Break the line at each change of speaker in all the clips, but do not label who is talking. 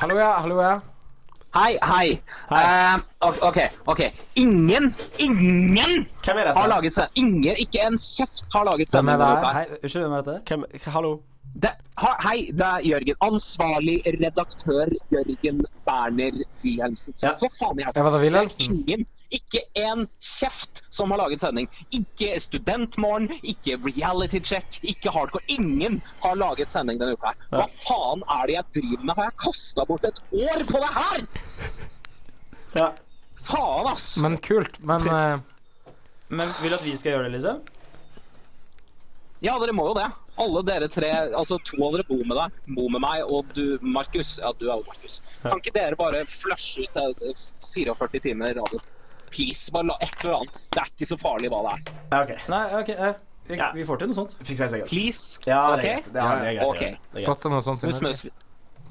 Hallo, ja. Hallo, ja.
Hei, hei.
Hei.
Eh, ok, ok, ok. Ingen, ingen
Hvem er
har
dette?
laget seg. Ingen, ikke en kjeft har laget seg.
Hvem er det? her? Hei, unnskyld, hvem er dette?
Hvem, hallo?
Det, ha, hei, det er Jørgen. Ansvarlig redaktør Jørgen Berner Wilhelmsen.
Ja.
Hva faen er
Jeg
det?
var da
Det er
Wilhelmsen.
ingen, ikke en kjeft som har laget sending. Ikke Studentmorgen, ikke Reality Check, ikke Hardcore. Ingen har laget sending denne uka. her. Hva faen er det jeg driver med? Har jeg kasta bort et år på det her?!
Ja.
Faen, ass!
Men kult. Men
Trist.
eh,
Men vil du at vi skal gjøre det, liksom?
Ja, dere må jo det. Alle dere tre, altså to av dere bor med deg, bor med meg, og du, Markus. Ja, du er jo Markus. Kan ikke dere bare flushe ut eh, 44 timer radio? Please, bare la et eller annet. Det er ikke så farlig hva det er.
ja, OK.
Nei, OK. eh, Vi,
Ja.
vi får til noe sånt.
Fikser jeg sikkert.
Please.
Ja,
Ok?
det er greit. Det er, det er greit.
Ok.
det er greit. Det er greit.
satte noe sånt
Nå
under.
snøs vi.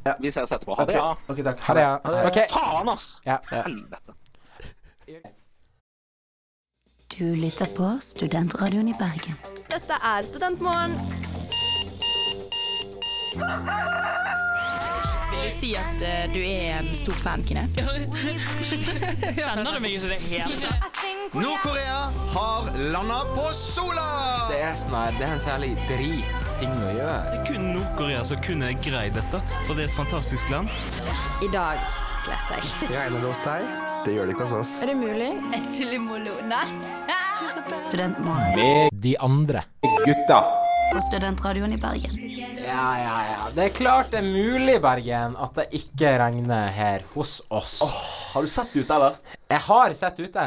Ja.
Vi ses etterpå. Ha det.
Ok,
Ja.
OK, takk.
Ha det, ja. OK.
Faen, ass!
Ja.
Helvete.
Du lytter på Studentradioen i Bergen.
Dette er Studentmorgen.
Vil du si at eh, du er en stor fan, Kines? Kjenner du meg ikke det helt?
Nord-Korea har landa på sola!
Det er, sånn her, det er en særlig drit ting å gjøre.
Det er kun Nord-Korea som kunne greid dette, for det er et fantastisk land.
I dag sletter jeg.
Regner det hos deg? Det gjør det ikke hos oss.
Er det mulig?
Studentmorgen
De andre.
på Studentradioen i Bergen.
Ja, ja, ja. Det er klart det er mulig, Bergen, at det ikke regner her hos oss.
Har du sett det ut, eller?
Jeg har sett ute,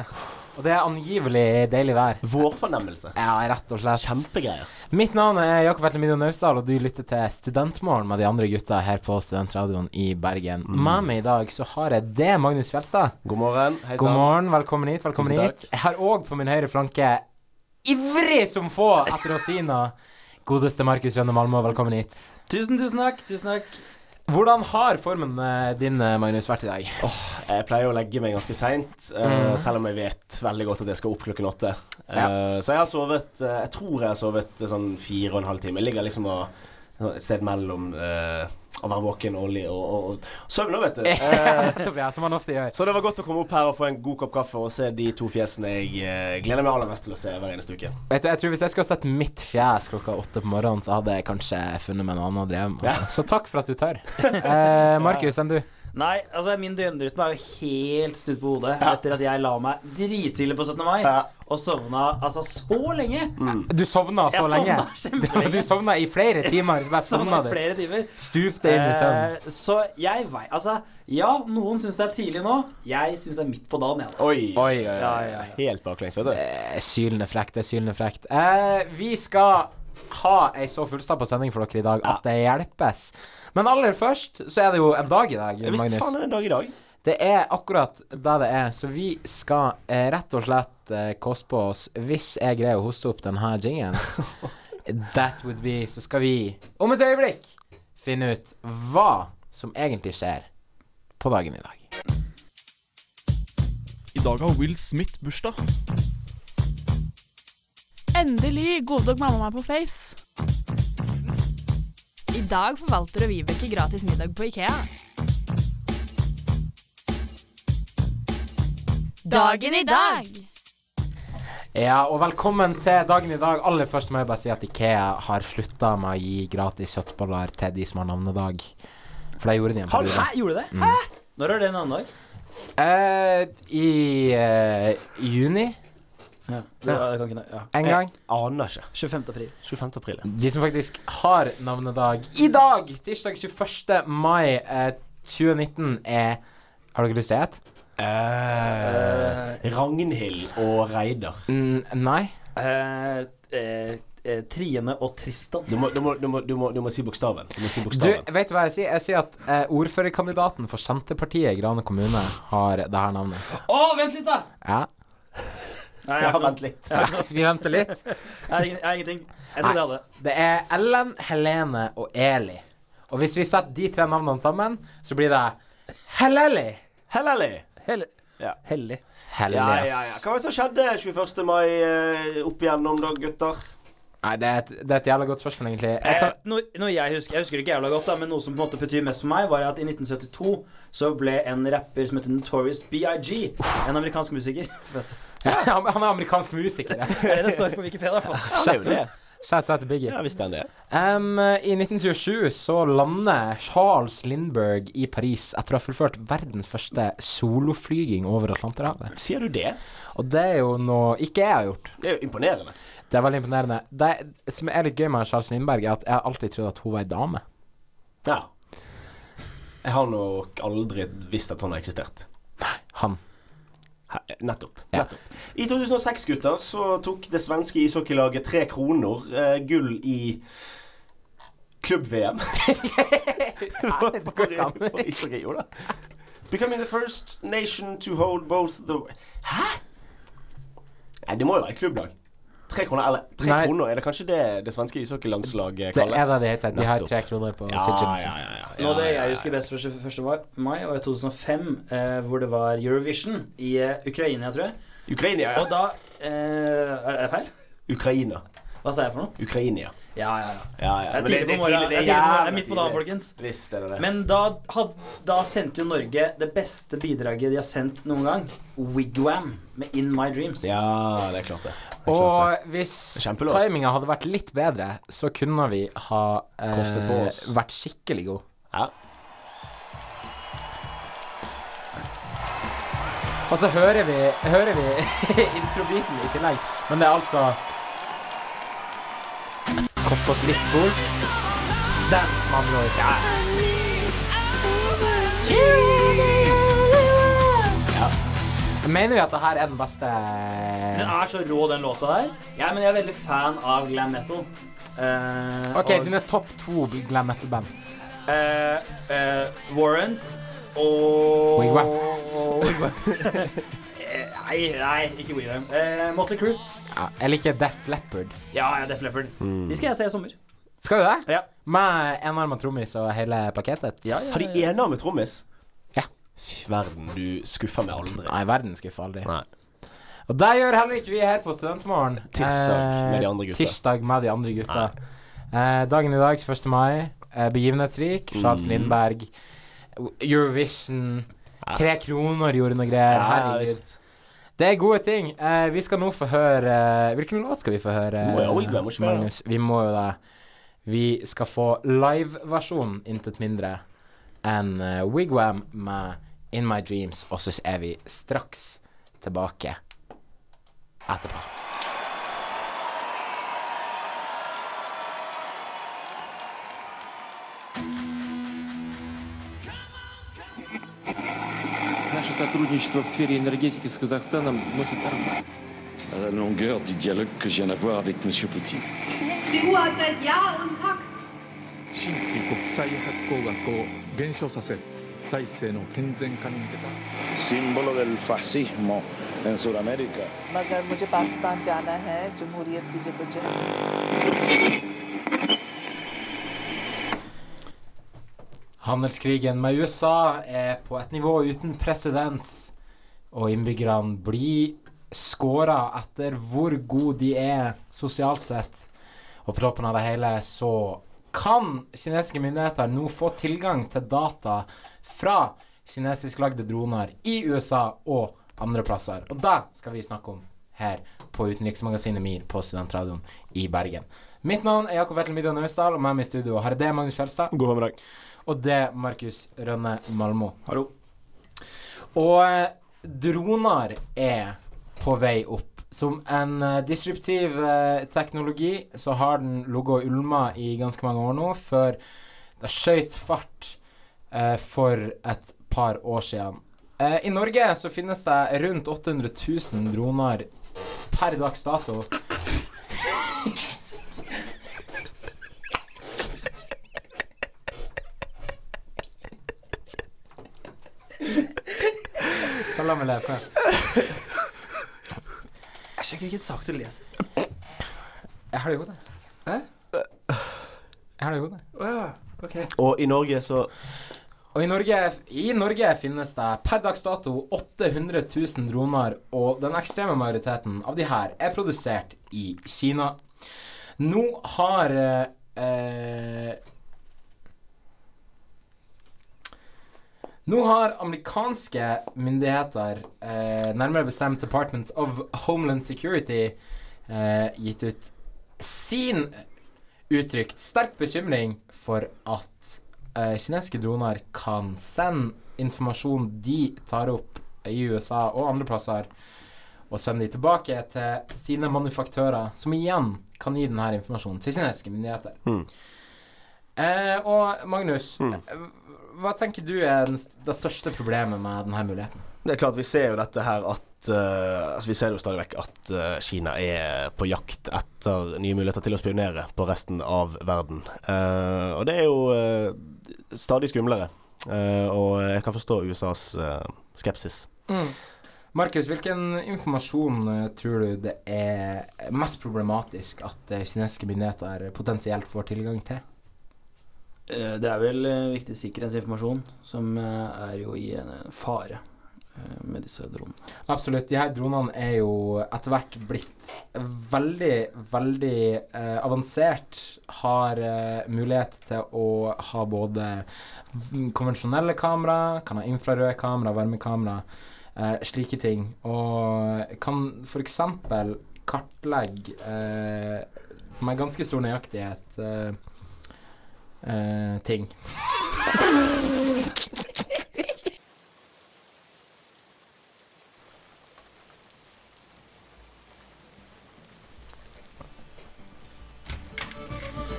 og det er angivelig deilig vær.
Vårfornemmelse.
Ja, rett og slett.
Kjempegreier.
Mitt navn er Jakob Vetlemido Naustdal, og du lytter til Studentmorgen med de andre gutta her på Studentradioen i Bergen.
Mm.
Med meg i dag så har jeg det, Magnus Fjelstad.
God morgen. Hei
God morgen, velkommen hit. velkommen
Tusen takk.
hit. Jeg har òg på min høyre flanke, ivrig som få etter rosina, godeste Markus Rønne Malmö, velkommen hit.
Tusen, tusen takk. Tusen takk.
Hvordan har formen eh, din, eh, Magnus, vært i dag?
Jeg pleier å legge meg ganske seint, eh, selv om jeg vet veldig godt at jeg skal opp klokken åtte. Eh, Så jeg har sovet eh, Jeg tror jeg har sovet eh, sånn fire og en halv time. Jeg ligger liksom og, sånn et sted mellom eh, å være våken og, li- og, og, og søvn nå, vet du. Eh,
Nettopp, ja, som han ofte gjør.
så det var godt å komme opp her og få en god kopp kaffe og se de to fjesene jeg eh, gleder meg aller mest til å se hver eneste uke.
Vet du, jeg tror Hvis jeg skulle ha sett mitt fjes klokka åtte på morgenen, så hadde jeg kanskje funnet meg noe annet å drive med. Altså. Så takk for at du tør. Eh, Markus, enn du?
Nei, altså min døgnrytme er jo helt snudd på hodet etter at jeg la meg drittidlig på 17. mai
Ja. Mm,
og sovna altså så lenge.
Du sovna så
Mm. Jeg sovna
lenge?
kjempelenge.
Du sovna i flere timer. så Bare sovna
Sovna
du.
i flere timer.
Stupte inn i søvn.
Eh, så jeg vei... Altså, ja, noen syns det er tidlig nå. Jeg syns det er midt på dagen. Jeg, da.
Oi.
Oi, oi, oi.
Helt baklengs, vet du.
Eh, Sylende frekt, det er sylende frekt. Eh, vi skal ha ei så fullstappa sending for dere i dag at det hjelpes. Men aller først så er det jo en dag i dag,
Jeg visste faen
Magnus.
er det en dag i dag.
Det er akkurat det det er, så vi skal eh, rett og slett eh, koste på oss Hvis jeg greier å hoste opp denne jingen, that would be Så skal vi om et øyeblikk finne ut hva som egentlig skjer på dagen i dag.
I dag har Will Smith bursdag.
Endelig godtok mamma meg på Face. I dag får Walter og Vibeke gratis middag på Ikea. Dagen i dag!
Ja, og velkommen til dagen i dag. Aller først må jeg bare si at Ikea har slutta med å gi gratis kjøttboller til de som har navnedag. For det gjorde de en
Har-
periode.
Hæ, gjorde du det? Hæ? Mm. Når er det en annen dag?
Eh, I eh, juni
Ja. Det, ja, det kan ikke, ja.
en gang.
Aner ikke.
25. april.
25. april. ja.
De som faktisk har navnedag i dag, tirsdag 21. mai eh, 2019, er Har dere lyst til å gjette?
Eh, Ragnhild og Reidar.
Mm, nei.
Eh, eh, eh, Trine og Tristan.
Du må, du, må, du, må, du, må, du må si bokstaven. Du må si
Du,
bokstaven.
vet du hva jeg sier? Jeg sier at eh, ordførerkandidaten for Senterpartiet i Grane kommune har det her navnet.
Å, vent litt, da!
Ja.
Nei, jeg
Ja,
har ikke noe.
vent litt.
Vi venter litt.
Jeg har ingen- jeg har ingenting. Jeg trodde jeg hadde det.
Det er Ellen, Helene og Eli. Og hvis vi setter de tre navnene sammen, så blir det Helleli.
Helleli.
Hellig.
Ja.
Hellig.
Ja, ja, ja. Hva var det som skjedde 21. mai eh, opp igjennom, da, gutter?
Nei, det er, et, det er et jævla godt spørsmål, egentlig. Jeg
Eh,
kan,
noe, noe jeg husker Jeg husker det ikke jævla godt, da, men noe som på en måte betyr mest for meg, var at i 1972 så ble en rapper som heter Notorious BIG, en amerikansk musiker Fett.
han han er amerikansk musiker. ja.
Det er det det står på Wikipedia. i hvert fall.
Det er jo det.
Shout out til Biggie.
Ja, visst er det.
Em, I 1927 så lander Charles Lindberg i Paris etter å ha fullført verdens første soloflyging over Atlanterhavet.
Sier du det?
Og det er jo noe ikke jeg har gjort.
Det er jo imponerende.
Det er veldig imponerende. Det som er litt gøy med Charles Lindberg, er at jeg har alltid trodd at hun var ei dame.
Ja. Jeg har nok aldri visst at hun har eksistert.
Han.
He- Nettopp.
Ja.
nettopp. I 2006, gutter, så tok det svenske ishockeylaget tre kroner eh, gull i klubb-VM.
det går ikke an.
For ishockey, jo da. Becoming the first nation to hold both the Hæ?! Nei, det må jo være et klubblag. Tre kroner, eller tre
Nei.
kroner, er det kanskje det det svenske ishockeylandslaget
Det er
kalles?
det de heter. De har
Nettopp.
tre kroner på
Ja,
sitt
ja,
gym.
ja, ja, ja.
Noe av det jeg husker best fra 21. mai, var i 2005, eh, hvor det var Eurovision i eh, Ukraina, tror jeg.
Ukraina, ja.
Og da eh, Er det feil?
Ukraina.
Hva sa jeg for noe?
Ukraina.
Ja, ja, ja.
Ja, ja.
Det er
men
tidlig på
tidlig,
morgenen. Det er tidlig på morgenen. Det er midt på dagen, folkens.
Visst er det det.
Men da, had, da sendte jo Norge det beste bidraget de har sendt noen gang. Wigwam med In My Dreams.
ja, det er klart det. det, er klart
Og hvis
Kjempelåt.
timinga hadde vært litt bedre, så kunne vi ha
Kostet
eh,
på oss.
vært skikkelig gode.
det. Ja.
Og så Altså, hører vi, hører vi introbiten i tillegg, men det er altså Kopp og litt spor. Den man når. Ja. Mener vi at det her er den beste
Den er så rå, den låta der. Ja, men jeg er veldig fan av glam metal. Eh,
OK,
og-
dine topp to glam metal-band.
eh, eh, Warrant og
Wigwam.
Wigwam. Eh, nei, nei, ikke Wigwam. Eh, Motley Crew.
Ja, jeg liker Death Leopard.
Ja, ja, Def Leppard. De skal jeg se i sommer.
Skal du det?
Ja.
Med enarma trommis og hele pakketet?
Har de enarmet trommis?
Ja.
Fy Verden, du skuffer meg aldri.
Nei, verden skuffer aldri.
Nei.
Og det gjør heller ikke vi her på Studentmorgen. Eh,
Tirsdag med de andre gutta.
Tirsdag med de andre gutta. Eh, dagen i dag, 1. mai, eh, begivenhetsrik. Charles
Mm.
Lindberg. Eurovision. Tre kroner gjorde noe greier.
Ja,
Herregud.
visst.
Det er gode ting. Eh, vi skal nå få høre eh, Hvilken låt skal vi få høre?
Må jo Wigwam, må ikke vi det?
Magnus? Vi må jo det. Vi skal få liveversjonen, intet mindre, enn eh, Wigwam med In My Dreams, og så er vi straks tilbake etterpå.
Наше сотрудничество в сфере энергетики с Казахстаном носит
à la longueur du dialogue que je viens d'avoir avec M. Poutine.
Handelskrigen med USA er på et nivå uten presedens, og innbyggerne blir skåra etter hvor gode de er sosialt sett. Og på toppen av det hele så kan kinesiske myndigheter nå få tilgang til data fra kinesisklagde droner i USA og andre plasser. Og det skal vi snakke om her på Utenriksmagasinet MIR på Studentradioen i Bergen. Mitt navn er Jakob Vetle Midjan Austdal, og med meg i studio har jeg det, Magnus Fjelstad.
God formiddag.
Og det, Markus Rønne Malmo.
Hallo.
Og eh, droner er på vei opp. Som en eh, disruptiv eh, teknologi så har den ligget og ulma i ganske mange år nå, før det skjøt fart eh, for et par år siden. Eh, I Norge så finnes det rundt 800 000 droner per dags dato. La meg leke.
Jeg skjønner ikke hvilken sak du leser.
Jeg har det i hodet.
Hæ?
Jeg har det i hodet.
Og i Norge så
Og i Norge, i Norge finnes det per dags dato 800 000 droner, og den ekstreme majoriteten av de her er produsert i Kina. Nå har eh, eh, Nå har amerikanske myndigheter, eh, nærmere bestemt Department of Homeland Security, eh, gitt ut sin uttrykt sterk bekymring for at eh, kinesiske droner kan sende informasjon de tar opp i USA og andre plasser, og sende de tilbake til sine manufaktører, som igjen kan gi denne informasjonen til kinesiske myndigheter.
Mm.
Eh, og Magnus,
Mm.
eh, hva tenker du er den, st- det største problemet med denne muligheten?
Det er klart, vi ser jo dette her at eh, Altså, vi ser jo stadig vekk at eh, Kina er på jakt etter nye muligheter til å spionere på resten av verden. Eh, og det er jo eh, stadig skumlere. Eh, og jeg kan forstå USAs eh, skepsis.
Markus, hvilken informasjon eh, tror du det er mest problematisk at eh, kinesiske myndigheter potensielt får tilgang til?
Eh, Det er vel eh, viktig sikkerhetsinformasjon, som eh, er jo i en eh, fare eh, med disse dronene.
Absolutt. De her dronene er jo etter hvert blitt veldig, veldig eh, avansert. Har eh, mulighet til å ha både v- konvensjonelle kamera, kan ha infrarøde kamera, varmekamera, eh, slike ting. Og kan f.eks. kartlegge eh, med ganske stor nøyaktighet eh, eh, ting.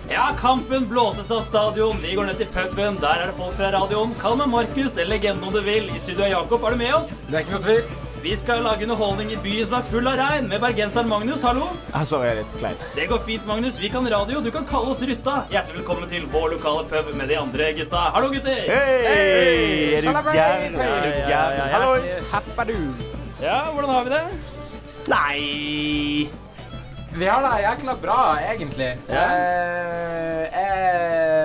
Ja, kampen blåses av stadion. Vi går ned til puben. Der er det folk fra radioen. Kall meg Markus eller legenden om du vil. I studio er Jakob. Er du med oss?
Det er ikke noe tvil.
Vi skal lage underholdning i byen som er full av regn, med bergenseren Magnus. Hallo.
Ah, sorry, jeg er litt klein.
Det går fint, Magnus. Vi kan radio. Du kan kalle oss Rutta. Hjertelig velkommen til vår lokale pub med de andre gutta. Hallo, gutter.
Hei! Er du
Shalabais!
gæren?
Ja,
Er du
ja, ja,
gæren?
ja.
Hallois!
Heppa du.
Ja, hvordan har vi det? Nei
Vi har det jækla bra, egentlig.
Ja.
Eh,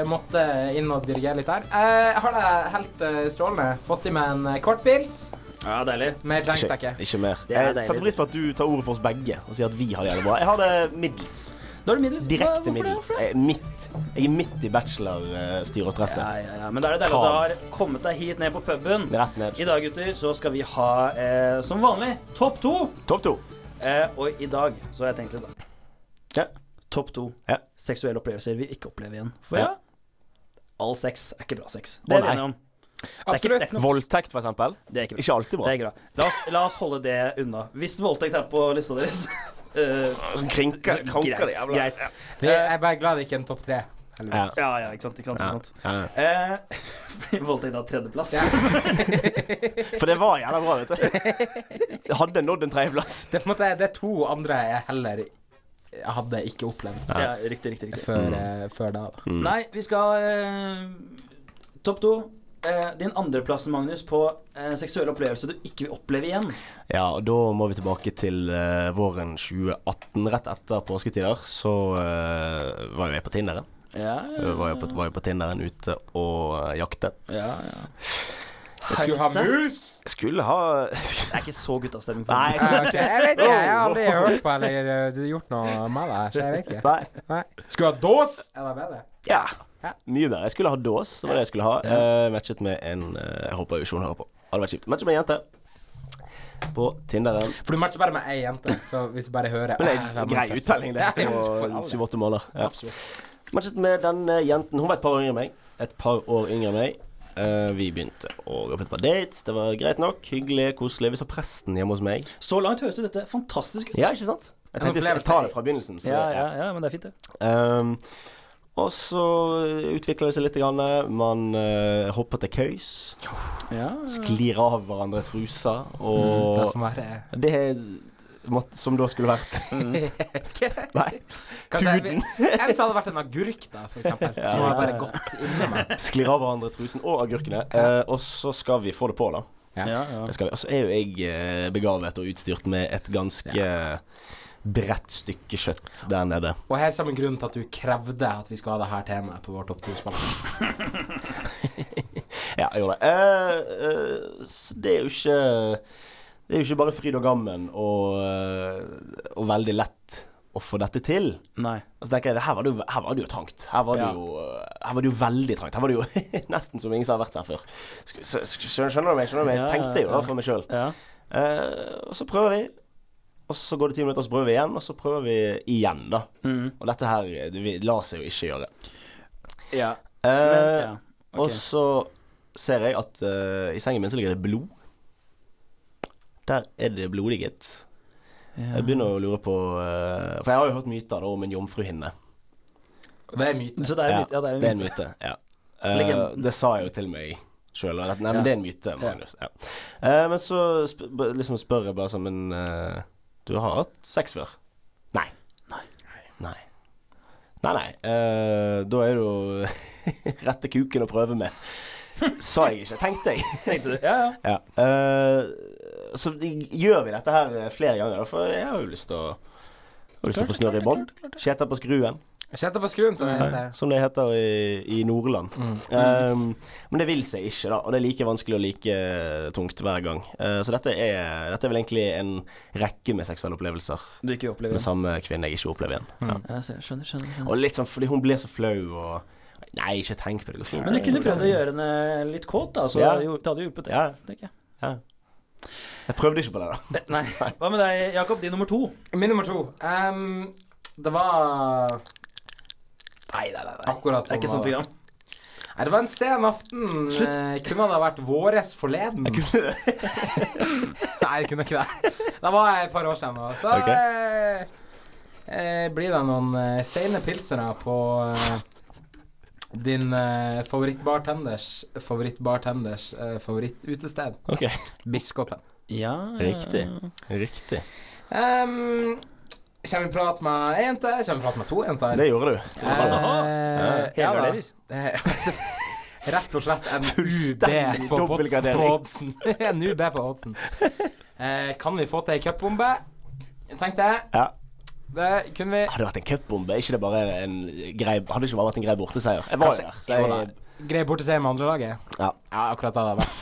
jeg måtte inn og dirigere litt her. Eh, Jeg har det helt eh, strålende. Fått i meg en eh, kort pils
Ja, deilig.
med et
Ikke,
langstekke.
ikke mer.
er
Jeg
deilig.
setter pris på at du tar ordet for oss begge og sier at vi har det jævlig bra. Jeg har det middels.
Da er det middels. Hva-
Direkte
hvorfor det?
middels.
Hvorfor det?
Jeg er midt, jeg er midt i bachelorstyret og
Ja,
stresset.
ja, ja. Men da er det deilig at du har kommet deg hit ned på puben.
Rett ned.
I dag, gutter, så skal vi ha eh, som vanlig topp to.
Topp to.
Eh, og i dag så har jeg tenkt litt, da.
Ja.
Topp to.
Ja.
Seksuelle opplevelser vi ikke opplever igjen. For ja,
Ja.
all sex er ikke bra sex.
Å,
Det er
nei.
vi enige om. Det er ikke, det er
Absolutt.
ikke noe,
Voldtekt, for eksempel.
det er ikke bra.
Ikke alltid
Det
bra.
er ikke bra. La oss, la oss holde det unna. Hvis voldtekt er på lista deres eh,
Som krinker,
så greit, greit.
Vi- Eh, Jeg er bare glad det ikke er en topp tre.
Ja.
Heldigvis.
Ja, ja, ikke sant. Ikke sant, ikke sant.
Ja.
Eh, blir voldtekt av tredjeplass.
Ja.
For det var jævla bra, vet du. Jeg hadde nådd en tredjeplass.
Det, er på en måte, det er to andre jeg heller hadde ikke opplevd
Ja, riktig, riktig,
Mm.
riktig.
før, eh, før da. da.
Nei, vi skal eh, Topp to. Eh, din andreplass, Magnus, på eh, seksuelle opplevelser du ikke vil oppleve igjen.
Ja, og da må vi tilbake til eh, våren 2018, rett etter påsketider. Så eh, var jo jeg på Tinderen.
Ja,
Jeg Var jo på, var jo på Tinderen ute og eh, jaktet.
ja,
Skulle ha mus?
Skulle ha
Det er ikke så guttastemning på
Nei.
den.
Ja, Ah, ok, Jeg vet ikke. Jeg har aldri hørt på eller eh, gjort noe med det. her, Så jeg vet ikke.
Oh. Nei.
Nei. Skulle ha dås? Er det bedre?
Ja.
Ja.
Mye bedre. Jeg skulle ha dås. Det var det jeg skulle ha. Eh, matchet med en eh, Jeg håper Usjon hører på. Hadde vært kjipt. Matchet med en jente. På Tinderen.
For du matcher bare med ei jente, så hvis du bare hører
Men
«Ah,
det er
jeg
en
må
grei
feste».
uttelling, det.
Ja, ja, for
På
all del.
sju-åtte måneder. Ja.
Absolutt.
Matchet med denne jenten. Hun var et par år yngre enn meg. Et par år yngre enn meg. Eh, vi begynte å gå på et par dates. Det var greit nok. Hyggelig, koselig. Vi så presten hjemme hos meg.
Så langt høres jo dette fantastisk ut.
Ja, ikke sant? Jeg tenkte jeg skulle ta det fra begynnelsen. for-
ja, ja, ja, men det er fint, det.
Ehm, og så utvikler det seg litt. Grann. Man eh, hopper til køys.
Ja.
Sklir av hverandre truser.
Mm, Det
Og
som er
det er måtte- som da skulle vært Nei.
Kanskje jeg,
Huden.
jeg hvis det hadde vært en agurk, da, for eksempel. Så hadde jeg bare gått inni meg.
Sklir av hverandre trusen og agurkene. Eh, og så skal vi få det på, da.
Ja, ja.
Det skal vi. Og så er jo jeg eh, begavet og utstyrt med et ganske bredt stykke kjøtt der nede.
Og her kommer grunnen til at du krevde at vi skal ha det her temaet på vår topp 2-spalte.
Ja, jeg gjorde det. Eh, eh, så det er jo ikke Det er jo ikke bare fryd og gammen og, eh, og veldig lett å få dette til.
Nei.
Og så tenker jeg, her var det jo, her var det jo trangt. Her var det,
Ja.
jo, eh, her var det jo veldig trangt. Her var det jo nesten som ingen som har vært her før. Sk- sk- sk- Skjønner skjønner du meg? Skjønner du meg?
Ja,
Jeg
ja,
tenkte jo
ja.
da for meg sjøl.
Ja.
og så prøver vi. Og så går det ti minutter, og så prøver vi igjen, og så prøver vi igjen, da.
Mm.
Og dette her eh, det vi- lar seg jo ikke gjøre.
Ja.
Eh,
Men, ja. ok.
Og så ser jeg at eh, i sengen min så ligger det blod. Der er det blodig, gitt. Jeg begynner å lure på eh, For jeg har jo hørt myter da, om en jomfruhinne.
Det er myten.
Så det er en myte. Ja, det er en myte.
myte. Ja. Eh,
Legenden.
det sa jeg jo til meg sjøl. Nei, men
Ja.
det er en myte, Magnus. Ja. Eh, men så sp b- liksom spør jeg bare sånn Men eh, du har hatt sex før? Nei. Nei. Nei, nei. eh, da er det jo rette kuken å prøve med. Sa jeg ikke, tenkte jeg.
Tenkte du? Ja, ja.
Ja. eh, så de- gjør vi dette her flere ganger, da, for jeg har jo lyst til å har lyst til å få snørr i bånd. Skjeter på skruen,
Sett deg på skruen, som det heter.
som det heter i, i Nordland. Eh, men det vil seg ikke, da. Og det er like vanskelig og like tungt hver gang. Eh, så dette er, dette er vel egentlig en rekke med seksuelle opplevelser
Du ikke opplever
med
det?
samme kvinne jeg ikke opplever igjen. Ja.
Ja, så jeg skjønner, skjønner, skjønner.
Og litt sånn fordi hun ble så flau og Nei, ikke tenk på det. Det går fint.
Men du kunne prøvd å gjøre henne litt kåt, da. Så
Ja.
det hadde jo- det hadde hjulpet, det.
Ja.
tenker jeg.
Jeg prøvde ikke på det, da.
Nei. Hva med deg, Jakob? Din nummer to?
Min nummer to. Ehm, det var
Nei, nei, nei.
Akkurat
Det er ikke
som
sånt
var-
program.
Nei, det var en sen aften. Eh, kunne det ha vært våres forleden? Nei, jeg kunne ikke det. Det var et par år siden. da. Så
Ok.
eh, eh, blir det noen eh, sene pilsere på eh, din eh, favorittbartenders favorittbartenders eh, favorittutested,
Ok.
Biskopen.
Ja,
Riktig. Eh. Riktig.
Um, Kommer vi prate med én til? Kommer vi prate med to jenter?
Det gjorde du.
Eh, ja da.
Helgarderer.
Eh, Rett og slett en UB
Fullstendig
på pods-
dobbeltgradering.
på oddsen. en UB på oddsen. Eh, kan vi få til ei cupbombe? Tenkte jeg.
Ja.
Det kunne vi.
Hadde det vært en cupbombe, ikke det bare en grei, hadde det ikke bare vært en grei borteseier? Jeg var jo der. Så jeg,
Grei borteseier med andrelaget.
Ja.
ja, akkurat det det var.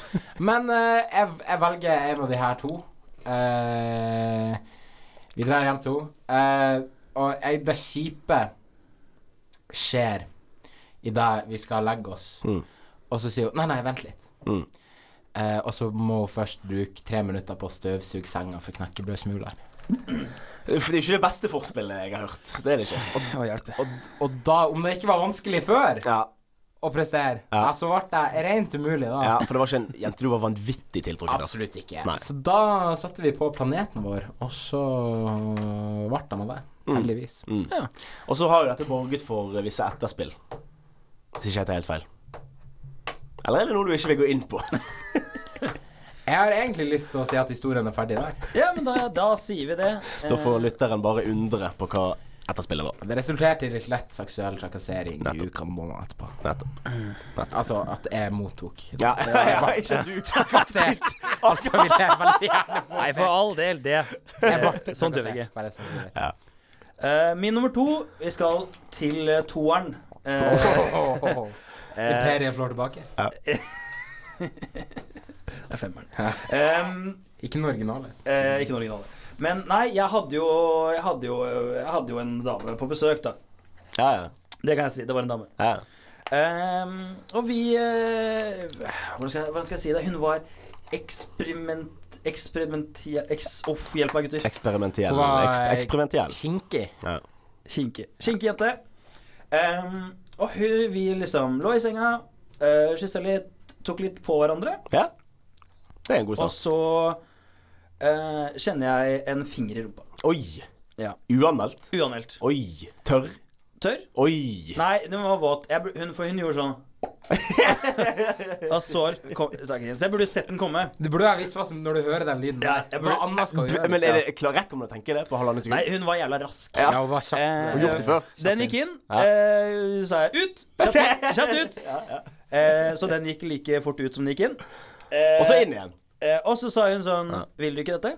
Men eh, jeg, jeg velger en av de her to. Eh, vi drar hjem til henne. Eh, og jeg, det kjipe skjer idet vi skal legge oss.
Mm.
Og så sier hun Nei, nei, vent litt.
Mm.
Eh, og så må hun først bruke tre minutter på å støvsuge senga for knekkebrødsmuler.
for det er jo ikke det beste forspillet jeg har hørt. Det er det ikke. Og,
Å, hjelpe.
Og da, om det ikke var vanskelig før
ja,
å prestere, ja.
Ja.
så ble det rent umulig da.
ja, for det var ikke en jente du var vanvittig tiltrukket av.
Absolutt ikke.
Nei.
Så da satte vi på planeten vår, og så ble det med det. Heldigvis.
Og så har jo dette borget for eh, visse etterspill. Hvis ikke dette er helt feil. Eller er det noe du ikke vil gå inn på?
Jeg har egentlig lyst til å si at historien er ferdig der.
Ja, men da, da sier vi det.
Da får lytteren bare undre på hva etterspillet var.
Det resulterte i litt lett seksuell trakassering i
Nettopp.
uka og måneden etterpå.
Nettopp.
Altså at jeg mottok.
Ja, ja, ja ikke du.
Trakassert. Altså vil jeg veldig gjerne få
Nei, for all del, det.
Jeg ble
Sånn tør vi
trakassert,
ikke.
bare sånn du vet.
Eh, min nummer to Vi skal til eh, toeren. Eh,
Åh, åh, åh, åh. Imperiet slår tilbake.
det er femmeren. Em,
Ikke noe originale.
Eh, ikke noen originale. Men nei, jeg hadde, jo, jeg, hadde jo, eh, jeg hadde jo en dame på besøk, da.
Ja, ja.
Det kan jeg si. Det var en dame.
ja.
Ehm, og vi eh, hvordan, skal jeg, hvordan skal jeg si det? Hun var eksperiment... Eksperimentia... Eks, uff, hjelp meg, gutter.
Eksperimentiell.
Hva er-
Eks- Eksperimentiell.
Kinkig.
Skinke. Skinkejente. Ehm, og hun, vi liksom lå i senga, uh, kyssa litt, tok litt på hverandre.
Ja. Det er en god
Og
start.
så eh, kjenner jeg en finger i rumpa.
Oi.
Ja.
Uanmeldt.
Uanmeldt.
Oi. Tørr.
Tørr.
Oi.
Nei, den var våt. Jeg, bur- hun, for hun gjorde sånn. Og så kom, så jeg burde sett den komme.
Du burde ha visst hva som når du hører den lyden.
Ja,
der.
jeg
Hva
burde-
annet skal vi gjøre?
Men er det klar rekk om du tenker det på halvannet
Nei,
sekund?
hun var jævla rask.
Ja, hun var kjapp.
Eh,
Hun har gjort det før.
Den gikk inn.
Ja.
Eh, så sa jeg ut. Kjapt ut. Kjapt ut. Eh, så den gikk like fort ut som den gikk inn. Eh,
Og så inn igjen.
Eh, og så sa hun sånn
Ja.
Vil du ikke dette?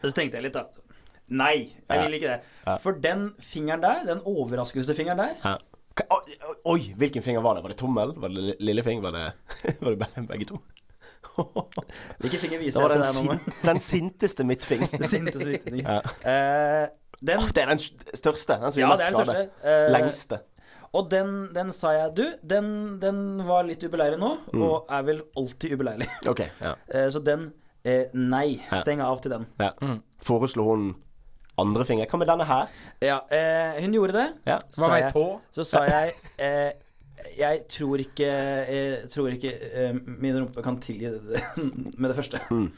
Og så tenkte jeg litt, da. Nei, jeg
Ja.
vil ikke det. For den fingeren der, den overraskelsesfingeren der
Hæ? Hva- Oi, oi, hvilken finger var det? Var det tommel? Var det li- lillefing? Var det, var det be- begge to?
Hvilken finger
Det
viser
var
jeg
den,
til deg nå?
sin, den sinteste midtfing.
Sinte svitning.
Ja.
Eh, Den,
Det er den største. Den som
ja,
gir
det
mest
er den
skade.
største. Eh,
Lengste.
Og den, den sa jeg Du, den, den var litt ubeleilig nå,
Mm.
og er vel alltid ubeleilig.
Ok, ja.
Eh, Så den eh, Nei.
Ja.
Steng av til den.
ja. Foreslo hun andre finger? Hva med denne her?
Ja, eh, hun gjorde det.
Ja.
Så sa jeg, så sa jeg eh, Jeg tror ikke, jeg tror ikke eh, min rumpe kan tilgi det med det første.
Mm.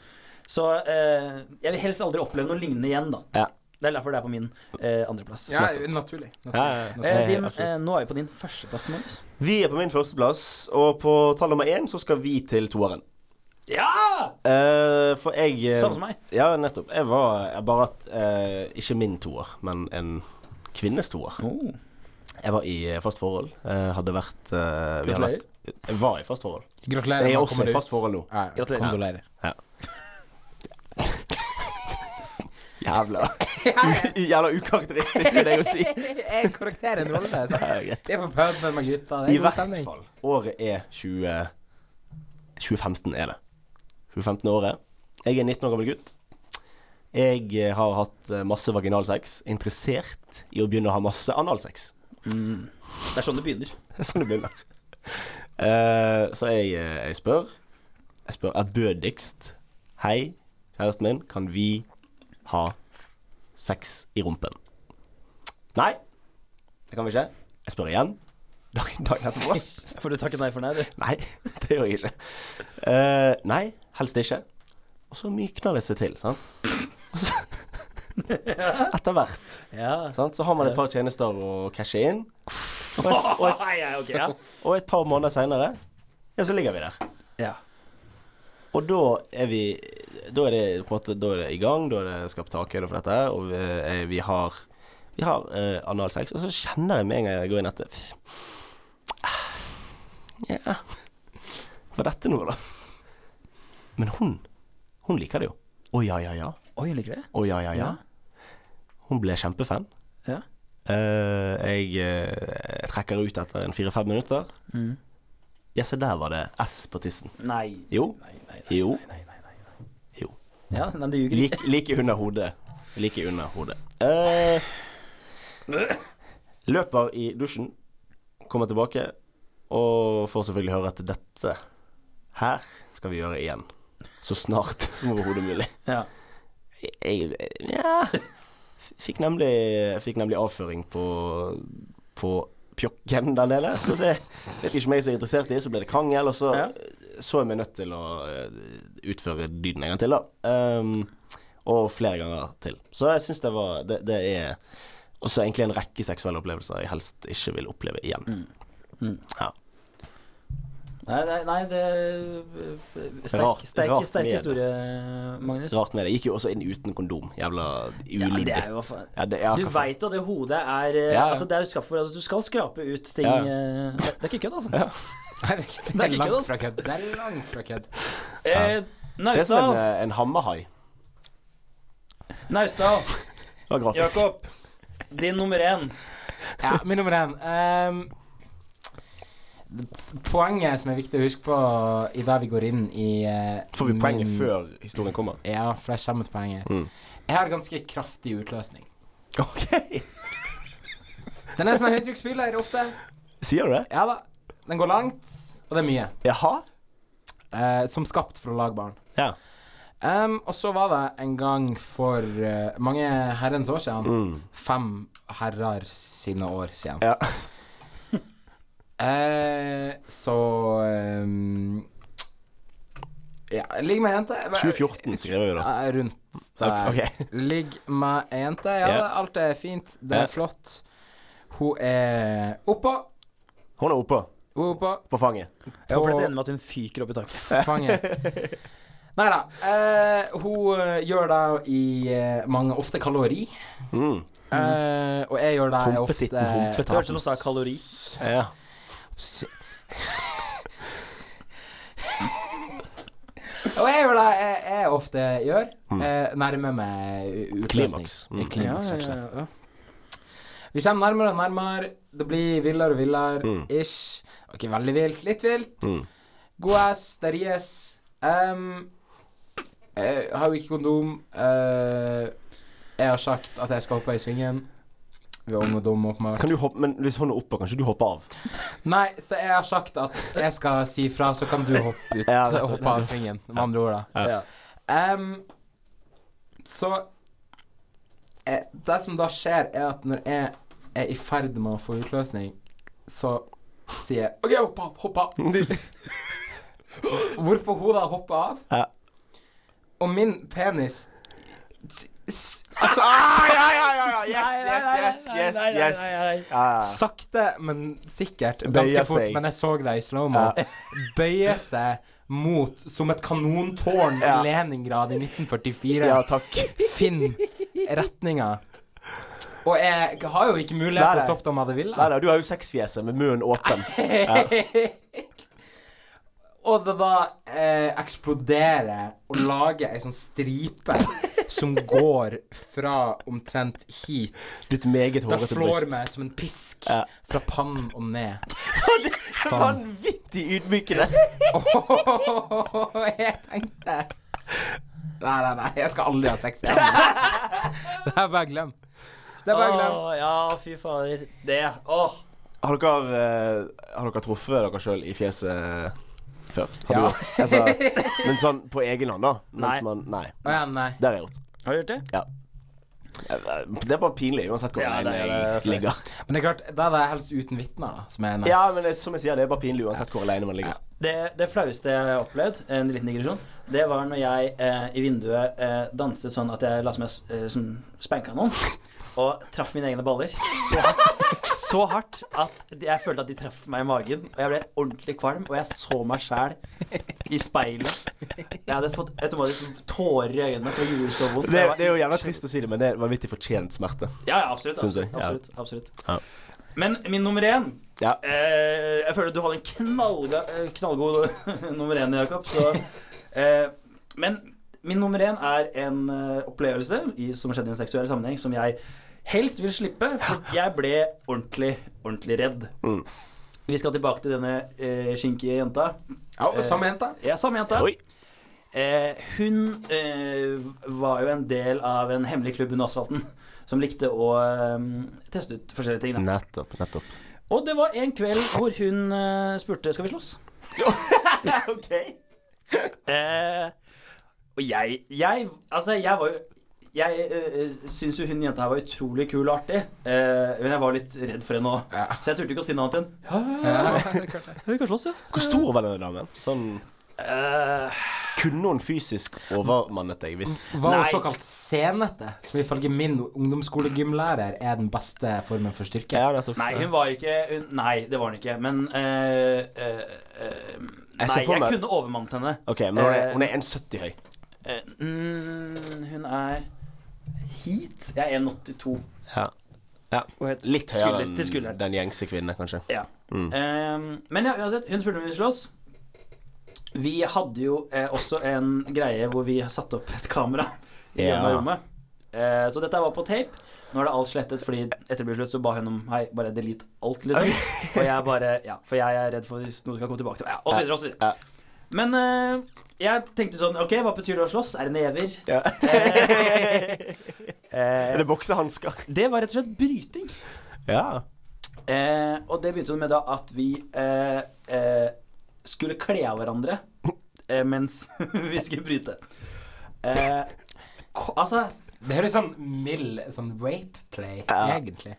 Så eh, jeg vil helst aldri oppleve noe lignende igjen, da.
Ja.
Det er derfor det er på min eh, andreplass.
Ja, naturlig. naturlig.
Ja, ja, ja.
Eh, din,
Absolutt.
eh, nå er vi på din førsteplass, Magnus.
Vi er på min førsteplass, og på tall nummer én så skal vi til toeren.
Ja!
Eh, for jeg eh,
Samme som meg.
Ja, nettopp. Jeg var jeg bare at eh, Ikke min toer, men en kvinnes toer.
Oh.
Jeg var i eh, fast forhold. Jeg hadde vært eh, vi hadde
Gratulerer.
vært- Jeg var i fast forhold.
Gratulerer.
Jeg er
nå
også
kommer
i
det ut.
fast forhold nå.
Ja, ja.
Gratulerer.
Kondolerer.
Jævla Jævla ukarakteristisk, vil jeg jo si.
Jeg korrekterer en rolle. så.
Ja, greit.
Det er på puben med gutta. Det er
I
god
hvert
stemning.
fall. Året er 20 2015 er det. 2015 er året. Jeg er 19 år gammel gutt. Jeg eh, har hatt eh, masse vaginalsex. Interessert i å begynne å ha masse analsex.
Det er sånn det begynner.
Det er sånn det begynner. Eh, så jeg, eh, jeg spør. Jeg spør ærbødigst. Hei, kjæresten min, kan vi ha sex i rumpen? Nei, det kan vi ikke. Jeg spør igjen. Dagen, dagen etterpå.
For du takket nei for nei, du.
Nei, det gjør jeg ikke. Eh, nei, helst ikke. Og så mykner det seg til, sant. Og så- Etter hvert
Ja.
sant? så har man et par tjenester å cashe inn.
Nei, ja, ok, ja.
Og et par måneder seinere, ja, så ligger vi der.
ja.
Og da er vi Da er det på en måte Da er det i gang, da er det skapt takhøyde for dette, og vi, eh, vi har Vi har eh, analsex, og så kjenner jeg med en gang jeg går inn at Ja Hva er dette nå, da? Men hun Hun liker det jo. Å ja, ja, ja.
Oi, hun liker det.
Å ja, ja, ja. Hun ble kjempefan.
Ja.
Eh, jeg, eh, jeg trekker ut etter en fire-fem minutter. Ja, se der var det S på tissen.
Nei.
Jo.
Nei, nei, nei,
Jo.
nei, nei, nei, nei.
Jo.
Ja, nei, du ljuger ikke.
Like, like under hodet. Like under hodet. Eh, løper i dusjen, kommer tilbake og får selvfølgelig høre at dette her skal vi gjøre igjen. Så snart som overhodet mulig.
Ja.
Jeg ja, fikk, nemlig, fikk nemlig avføring på, på pjokken der nede. Så det vet ikke om jeg er så interessert i, så ble det krangel, og så
Ja.
så jeg meg nødt til å eh, utføre dyden en gang til, da. Ehm, og flere ganger til. Så jeg syns det var Det, det er også egentlig en rekke seksuelle opplevelser jeg helst ikke vil oppleve igjen.
Mm.
Ja.
Nei, nei, nei, det eh,
Rart-
Sterk, sterk,
rart
sterk
med det.
historie, Magnus.
Rart med det. Jeg gikk jo også inn uten kondom. Jævla
Ja,
ulydig.
det er jo hva faen.
Ja, det- ja,
Du
hva faen.
veit jo at det hodet er eh,
Ja, ja.
Altså, det er jo skapt for altså, Du skal skrape ut ting
Ja.
eh, det, det er ikke kødd, altså.
Nei, det er ikke-
Det er
det er
ikke
langt
kødd.
fra kødd. Det er langt fra kødd.
Eh,
Det er som en,
Naustdal!
eh, en hammerhai.
Naustdal!
Det var grafisk.
Jakob! Din nummer én.
Ja, min nummer én. Ehm, poenget som er viktig å huske på i dag vi går inn i eh,
Får vi poenget
min-
før historien kommer?
Ja, for jeg kommer til poenget.
Mm.
Jeg har ganske kraftig utløsning.
Ok
Den er som en høytrykksspyler ofte.
Sier du det?
Ja da. Den går langt, og det er mye.
Jaha?
Eh, som skapt for å lage barn.
Ja.
Ehm, og så var det en gang for eh, mange herrens år siden. Fem herrer sine år siden.
Mm. Ja.
Eh, så ehm, Ja, ligg med ei jente.
2014 skriver vi da.
Ja, Rundt der.
Ok.
Ligg med ei jente. Ja,
Ja.
alt er fint. Det
Ja.
er flott. Hun er oppå.
Hun er oppå.
Hun er oppå.
På fanget.
Jeg håper dere er enig med at hun fyker opp i taket.
fanget. Nei da. Eh, hun eh, gjør det i eh, mange ofte kalori.
Mm.
Eh, og jeg gjør det
Humpetitten,
ofte
Det hørtes ut som hun sa kalori.
Ja.
Og jeg gjør det jeg, jeg ofte gjør. Eh, nærmer meg utløsning.
Mm. Klimaks. Mm.
I Klimaks,
Ja,
rett og
ja,
slett.
ja.
Vi kommer nærmere og nærmere. Det blir villere og villere. Ish. Ok, veldig vilt. Litt vilt.
Mm.
God ass. Det ries. Um, jeg har jo ikke kondom. eh, Jeg har sagt at jeg skal hoppe i svingen. Vi er unge og dumme, åpenbart.
Kan du hoppe, men hvis hånda er oppå, kan ikke du hoppe av?
Nei, så jeg har sagt at jeg skal si fra, så kan du hoppe ut.
Ja, nettopp.
hoppe av svingen, med andre ord, da.
Ja.
Em, så eh, Det som da skjer, er at når jeg er i ferd med å få utløsning, så sier jeg OK, hopp av, hopp av. Hvorpå hun da hopper av.
Ja.
Og min penis s- s- Altså ah, ja, ja, ja, ja. Yes, yes, yes.
Yes,
Nei, nei, nei,
yes.
nei, nei.
Ja, ja.
Sakte, men sikkert.
Bøyer
Ganske fort,
seg.
men jeg så deg i slow-mo. Bøye seg mot, som et kanontårn i
Ja.
Leningrad i 1944.
Ja, takk.
Finn retninga. Og jeg har jo ikke mulighet
Nei,
til å
nei.
stoppe det om jeg hadde villet.
Nei, nei, du har jo sexfjeset med munnen åpen.
Og det da eh, eksploderer og lager ei sånn stripe som går fra omtrent hit.
Ditt meget
Det
hårete
slår
bryst.
meg som en pisk
Ja.
fra pannen og ned. Sånn.
Vanvittig ydmykende.
Og jeg tenkte Nei, nei, nei, jeg skal aldri ha sex igjen. Det er bare glem. Det er bare glem.
Å, ja, fy fader. Det. Åh.
Har dere, eh, har dere truffet dere sjøl i fjeset eh, før? Har
Ja.
du, altså, men sånn på egen hånd, da? Mens
Nei.
Man, nei.
Å ja, nei.
Det har jeg gjort. Eh,
Har du gjort det?
Det er bare pinlig, uansett hvor
Ja, det
alene
er
jeg
flaut.
ligger.
Men det er klart, da er det helst uten vitner, da, som er nice.
Ja, men det, som jeg sier, det er bare pinlig uansett hvor alene man ligger.
Det, det flaueste jeg har opplevd, en liten digresjon, det var når jeg eh, i vinduet eh, danset sånn at jeg la som jeg s- eh, som spanka noen. Og traff mine egne baller så hardt, så hardt at jeg følte at de traff meg i magen. Og jeg ble ordentlig kvalm, og jeg så meg sjæl i speilet. Jeg hadde fått automatisk tårer i øynene, for det gjorde så vondt.
Det, det er jo jævla trist å si det, men det er vanvittig fortjent smerte.
Ja, ja, absolutt.
Syns jeg,
Absolutt.
ja.
absolutt, absolutt.
Ja.
Men min nummer én
Ja.
eh, Jeg føler at du hadde en knallga, eh, knallgod nummer én, Jakob. Så, eh, men min nummer én er en eh, opplevelse i, som skjedde i en seksuell sammenheng, som jeg helst vil slippe. For jeg ble ordentlig, ordentlig redd.
Mm.
Vi skal tilbake til denne eh, skinkige jenta.
Ja, og samme jenta.
Ja, samme jenta.
Oi.
Eh, hun eh, var jo en del av en hemmelig klubb under asfalten som likte å eh, teste ut forskjellige ting. Da.
Nettopp. nettopp
Og det var en kveld hvor hun eh, spurte Skal vi slåss.
OK.
Eh, og jeg, jeg Altså, jeg var jo jeg øh, syns jo hun jenta her var utrolig kul og artig, eh, men jeg var litt redd for henne òg. Så jeg turte ikke å si noe annet enn Ja, vi kan slåss, ja.
Hvor stor var denne damen? Sånn Kunne hun fysisk overmannet deg hvis
Var hun
Nei.
såkalt senete, som ifølge min ungdomsskolegymlærer er den beste formen for styrke.
Ja, nettopp.
Nei, hun var ikke hun, Nei, det var hun ikke. Men eh, eh, eh,
Jeg ser
Nei,
for
jeg
meg-
kunne overmannet henne.
OK, men hun er, hun er 1,70 høy.
Eh, mm, hun er hit. Jeg er 1,82.
Ja. Litt høyere
Skulder til
enn
skulder.
den gjengse kvinne, kanskje.
Ja.
Mm.
Eh, men ja, uansett, hun spurte om vi ville slåss. Vi hadde jo eh, også en greie hvor vi satte opp et kamera i
Ja.
ja. rommet. Eh, så dette var på tape. Nå er det alt slettet, fordi etter det ble slutt så ba hun om Hei, bare delete alt, liksom. Og jeg bare Ja, for jeg er redd for hvis noe skal komme tilbake til meg. Ja, og så videre, og så videre.
Ja.
Men eh, jeg tenkte sånn Ok, hva betyr det å slåss? Er det never?
Ja.
Eh,
Er det boksehansker?
det var rett og slett bryting.
Ja.
Eh, og det begynte jo med da at vi eh, eh, skulle kle av hverandre eh, mens vi skulle bryte. Eh, ko- altså
Det høres sånn mild sånn rape play, egentlig.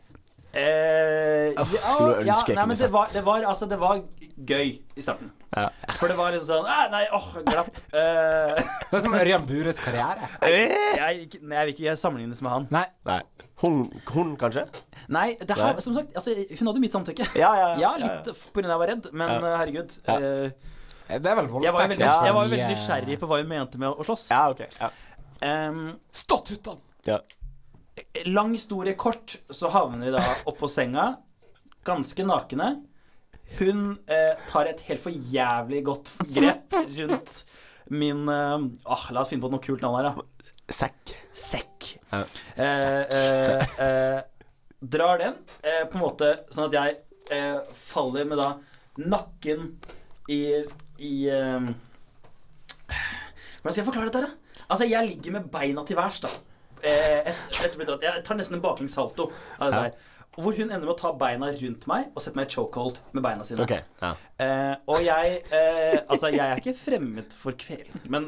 eh,
skulle ønske jeg
nei,
kunne
men det
sett.
var, det, var, altså, det var gøy i starten.
Ja.
For det var liksom sånn «Ah, Nei, åh, glapp. Eh,
Det er som Ørjan Bures karriere.
jeg, nei, jeg vil ikke sammenlignes med han.
Nei.
Nei. Hun, hun kanskje?
Nei, det her,
Nei.
som sagt, altså, hun hadde mitt samtykke.
Ja, ja,
Ja, litt på grunn av at jeg var redd, men eh, herregud.
Ja.
eh,
Det er vel voldtekt.
jeg var jo veldig,
kanskje,
jeg var jo
mye-
veldig nysgjerrig på hva hun mente med å- å slåss.
Ja, OK. Ja.
Em,
Statuttene!
ja.
lang historie kort, så havner vi da oppå senga, ganske nakne. Hun eh, tar et helt for jævlig godt grep rundt min eh, ah, La oss finne på noe kult navn her, da.
Sekk.
Sekk.
Ja.
Eh, eh, eh, drar den eh, på en måte sånn at jeg eh, faller med da nakken i, i eh, Hvordan skal jeg forklare dette, her, da? Altså, jeg ligger med beina til værs, da. eh, et, etter å bli dratt. Jeg tar nesten en baklengs salto av det
Ja.
der. Hvor hun ender med å ta beina rundt meg og sette meg i chokehold med beina sine.
Ok, ja.
Eh, og jeg eh, Altså, jeg er ikke fremmed for kvelden, men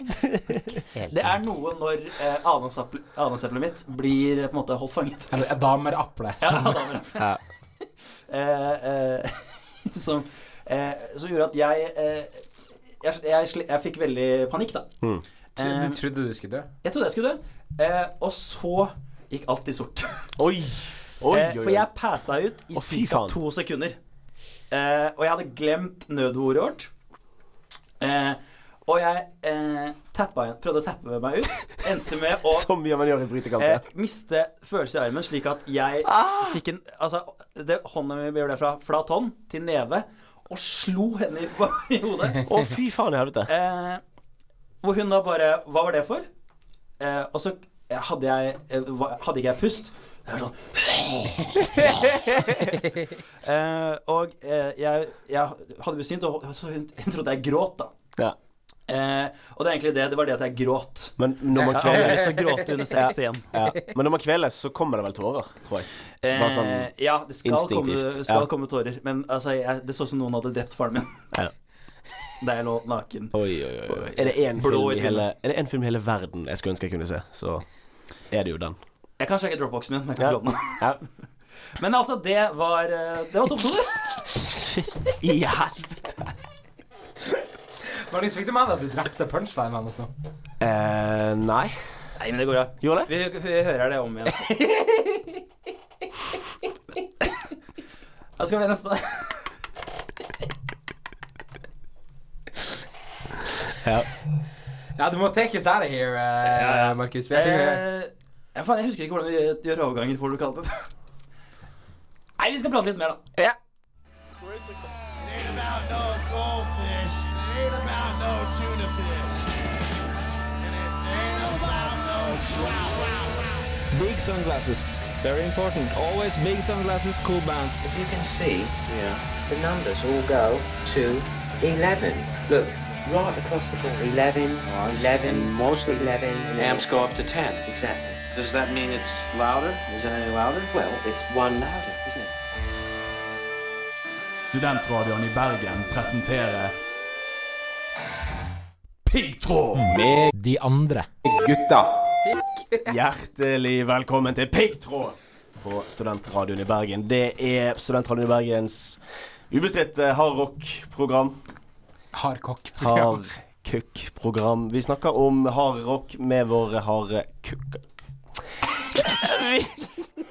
eh, Det er noe når eh, adamsapple- adamseplet mitt blir eh, på en måte holdt fanget.
Eller dameapple.
Ja,
som-
adamseplet. eh, eh, som, eh, som gjorde at jeg eh, jeg, jeg, sli- jeg fikk veldig panikk, da. Eh,
Du trodde du skulle dø?
Jeg trodde jeg skulle dø. Eh, og så gikk alt i sort.
Oi! Oi,
Eh,
oi,
for
oi.
jeg passa ut i
Å, fy
ca.
faen.
to sekunder. Eh, og jeg hadde glemt nødordet vårt. Eh, og jeg eh, tappa, prøvde å tappe meg ut. Endte med å
Som gjør man gjør i brytekamper.
eh, miste følelse i armen, slik at jeg fikk en Altså, det, hånda mi ble fra flat hånd til neve, og slo henne i, i hodet.
Å, fy faen i helvete.
Eh, hvor hun da bare Hva var det for? Eh, og så hadde jeg eh, hva- Hadde ikke jeg pust. Jeg var sånn eh, Og eh, jeg, jeg hadde besvimt, og så hun, hun trodde jeg gråt, da.
Ja.
Eh, og det er egentlig det. Det var det at jeg gråt.
Men når man
Jeg har
kveles,
lyst til å gråte under sex igjen.
ja. Men når man kveles, så kommer det vel tårer, tror jeg. Bare sånn
Eh, ja, det skal, komme,
instinktivt,
skal
ja.
komme tårer. Men altså, jeg, det så ut som noen hadde drept faren min.
Ja.
Da jeg lå naken.
Oi, oi, oi. Er det én
Blå
film,
i
i hele- er det en film i hele verden jeg skulle ønske jeg kunne se, så er det jo den.
Jeg kan sjekke dropboxen min. Men, jeg
Ja.
kan ikke låne den.
Ja.
men altså, det var eh, Det var topp to, det.
I helvete.
Hvordan fikk du med deg at du drepte punchlinene? Altså?
Eh, nei.
Nei, men det går bra.
Gjorde det?
Vi, vi hører det om igjen. Da skal vi neste.
Ja, du må take us out of here, eh,
Ja, ja.
Markus. Vi er ikke-
Eh, ja, faen, jeg husker ikke hvordan vi gjør- gjør overgangen for lokalpub. Nei, vi skal prate litt mer, da.
Big sunglasses. Very important. Always big sunglasses, cool band.
If you can see, the numbers all go to 11. Look, right across the board. 11, 11, most 11. And amps go up to 10. Exactly. Does that mean it's louder? Is it any louder? Well, it's one louder, isn't it?
Studentradioen i Bergen presenterer
De andre.
Hjertelig velkommen til Piggtråd på Studentradioen i Bergen. Det er Studentradioen i Bergens ubestridte hardrock-program.
Hard kokk.
Hardkukk-program. Vi snakker om hardrock med våre harde kukker. Vi,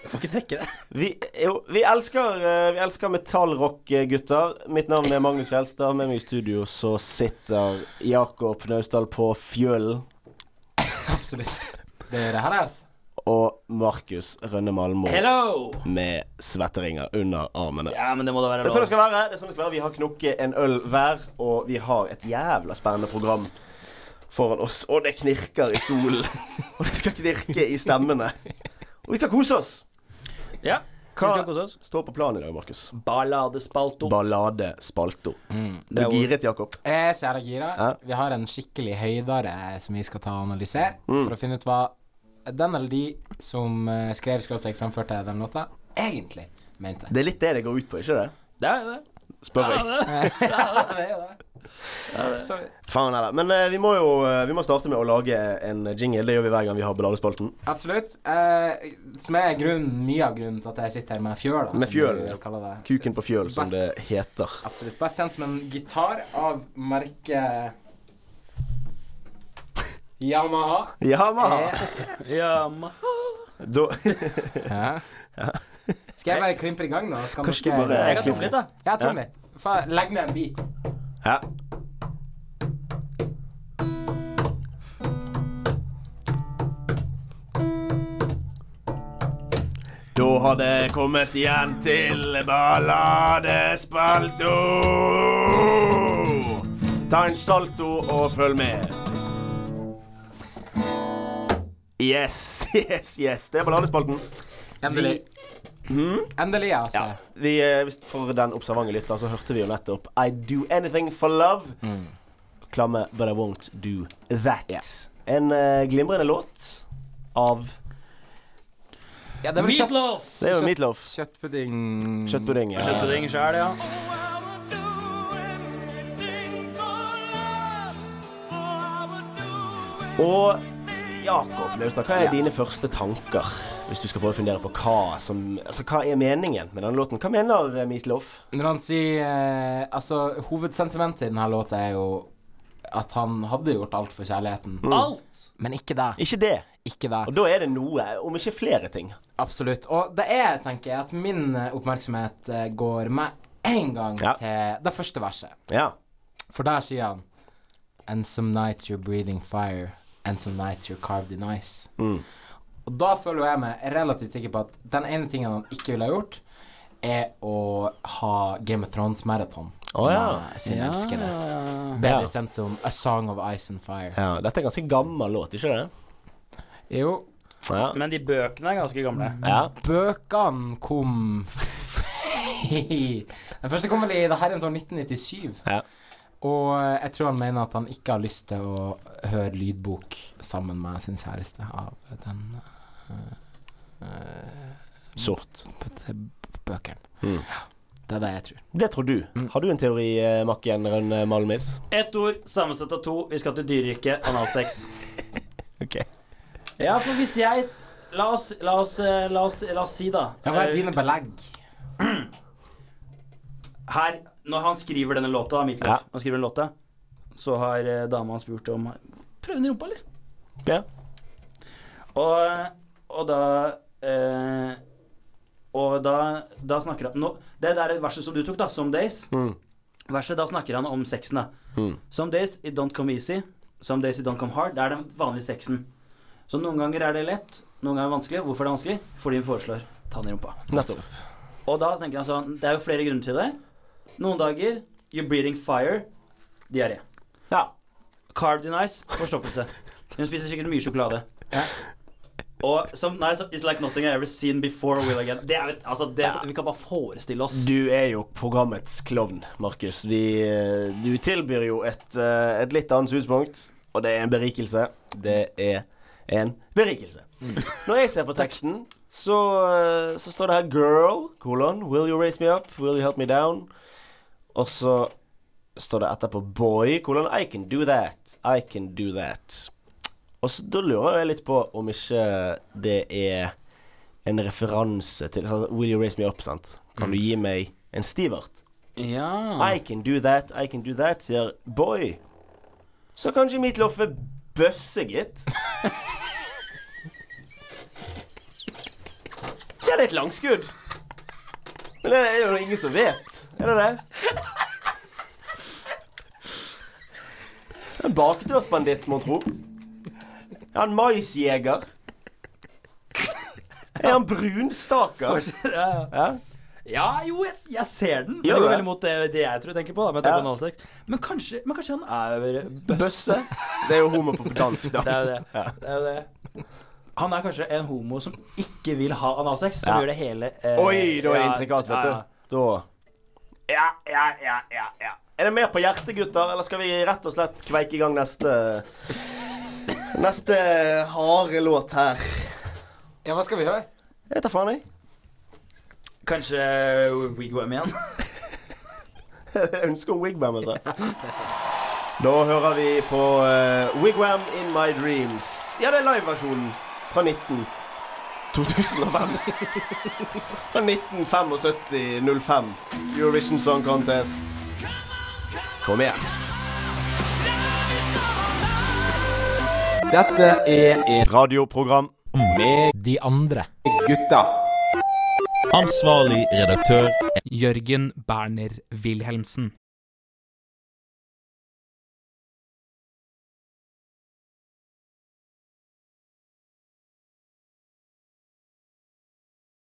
Får ikke trekke det.
vi, jo, vi elsker, eh, vi elsker metallrock, eh, gutter. Mitt navn er Magnus Fjelstad. Med meg i studio så sitter Jakob Naustdal på fjølen.
Absolutt. Det gjør det her, altså.
Og Markus Rønne Malmo
Hello!
med svetteringer under armene.
Ja, men det må da være
Det er sånn det
lov.
skal være. det er sånn det skal være Vi har knukket en øl hver, og vi har et jævla spennende program foran oss. Og det knirker i stolen, og det skal knirke i stemmene. Og vi skal kose oss.
Ja, vi skal
Hva
kose oss.
står på planen i dag, Markus?
Balladespalto.
Balladespalto. Du
Mm, Det er
er
ord.
giret, Jakob?
Jeg er så jævla gira.
Ja.
Vi har en skikkelig høydare som vi skal ta og analysere, for å finne ut hva den eller de som eh, skrev skråstrek fremførte den låta, egentlig mente.
Det er litt det det går ut på, ikke det?
Det er jo det.
Spør jeg.
Ja, det er jo det. Så,
Faen heller. Men eh, vi må jo eh, vi må starte med å lage en jingle. Det gjør vi hver gang vi har Balladespalten.
absolutt. Eh, som er grunnen, mye av grunnen til at jeg sitter her med fjøl. da,
Med
som
fjøl,
du
ja.
kaller det.
Kuken på fjøl, som det heter.
Absolutt. Best kjent som en gitar av merket Yamaha.
Yamaha.
Eh. Ja, ma-
Da
Skal jeg bare klimpre i gang, da? Skal
Kanskje
dere-
du bare-
jeg kan tromme litt, da.
Ja, trom litt. Fa- Legg ned en bit.
Ja. Da har det kommet igjen til balladespalto. Ta en salto og følg med. Yes, yes, yes. Det er balladespalten.
Endelig. Endelig, altså.
Mhm. Ja. Vi, eh, hvis for den observante lytter, så hørte vi jo nettopp I Do Anything For Love. Klamme But I Won't Do That. En eh, glimrende låt.
av
Ja, det er vel kjøtt-
Meatloaf!
Det er jo meatloaf.
Kjøttpudding
Kjøttpudding. Ja.
Kjøttpudding sjøl, ja.
Og Jakob Laustad, hva er dine første tanker hvis du skal prøve å fundere på hva som Altså, hva er meningen med denne låten? Hva mener eh, Meatloaf?
Når han sier eh, Altså, hovedsentimentet i denne låta er jo at han hadde gjort alt for kjærligheten.
Alt!
Men ikke det.
Ikke det.
Ikke det.
Og da er det noe, om ikke flere ting.
Absolutt. Og det er, tenker jeg, at min eh, oppmerksomhet eh, går med en gang
Ja.
til det første verset.
Ja.
For der sier han And some nights you're breathing fire And some nights you're carved in ice
Mm.
Og da føler jeg meg relativt sikker på at Den ene tingen han ikke ville ha gjort Er å ha Game of Thrones marathon
Å, ja.
med sin elskede
Ja.
Bedre kjent som A Song of Ice and Fire
ja. Dette er en ganske gammel låt, ikke det?
Jo,
Ja.
Men de bøkene er ganske gamle.
ja.
bøkene kom Den første kom vel i det herrens år 1997
Ja.
sånn Og eh, jeg tror han mener at han ikke har lyst til å høre lydbok sammen med sin kjæreste av den eh,
Sort.
bøkene. Det er det jeg tror.
Det tror du. Har du en teori, eh, Makken Rønn eh, Malmis?
Ett ord sammensatt av to. Vi skal til dyreriket analsex.
Ok.
Ja, for hvis jeg La oss, la oss, eh, la oss, la oss si, da
hva er
eh,
dine belegg?
Her, når han skriver denne låta, mitt liv,
Ja.
han skriver en låta, så har eh, dama spurt om Prøv den i rumpa, eller?
Ja.
Og, og da eh, Og da, da snakker han nå, Det der verset som du tok, da, Some Days Verset, Da snakker han om sexen. da Some days it don't come easy. Some days it don't come hard. Det er den vanlige sexen. Så noen ganger er det lett, noen ganger er det vanskelig. Hvorfor er det vanskelig? Fordi hun foreslår ta den i rumpa.
Nettopp.
Og da tenker han sånn Det er jo flere grunner til det. Noen dager you're breathing fire. Diaré.
Ja.
Carved in ice. Forstoppelse. Hun spiser sikkert mye sjokolade. Og som Nei, så- it's like nothing I ever seen before will again. Det er, jo- altså, det, Vi kan bare forestille oss.
Du er jo programmets klovn, Markus. Vi, eh, du tilbyr jo et, eh, et litt annet synspunkt, og det er en berikelse. Det er en berikelse. Når jeg ser på teksten, så, eh, så står det her 'girl', kolon, 'will you raise me up', 'will you help me down'? Og så står det etterpå 'boy', kolon, 'I can do that', 'I can do that'. Og så, da lurer jeg litt på om ikke det er en referanse til sånn, Will you raise me up, sant? Kan du gi meg en Stivert?
Ja.
I can do that, I can do that, sier Boy. Så kanskje mitt loff er bøsse, gitt. ja, det er et langskudd. Men det er jo ingen som vet. Er det det? En bakdørsbanditt, mon tro. Er han maisjeger? Er han brunstaker? Ja.
ja, jo, jeg, jeg ser den. Men
Gjør
det går
det?
veldig mot det, det jeg tror jeg tenker på. Da, med
Ja.
ja. men, kanskje, men kanskje han er
Bøsse? Det er jo homo på dansk, da.
Det er jo det. det, er jo det. Han er kanskje en homo som ikke vil ha analsex, som
Ja.
gjør det hele eh,
Oi, da er det
ja,
intrikat, vet
ja,
du.
ja.
Da Ja, ja, ja, ja. ja. Er det mer på hjertet, gutter, eller skal vi rett og slett kveike i gang neste Neste harde låt her?
Ja, hva skal vi høre?
Jeg tar faen, jeg.
Kanskje Wigwam igjen?
Jeg ønsker om Wigwam, altså. Da hører vi på eh, Wigwam In My Dreams. Ja, det er liveversjonen fra 19... 2005. fra 1975-05. Eurovision Song Contest. Kom igjen.
Dette er et
Radioprogram.
med
De andre.
gutta.
Ansvarlig redaktør
Jørgen Berner Wilhelmsen.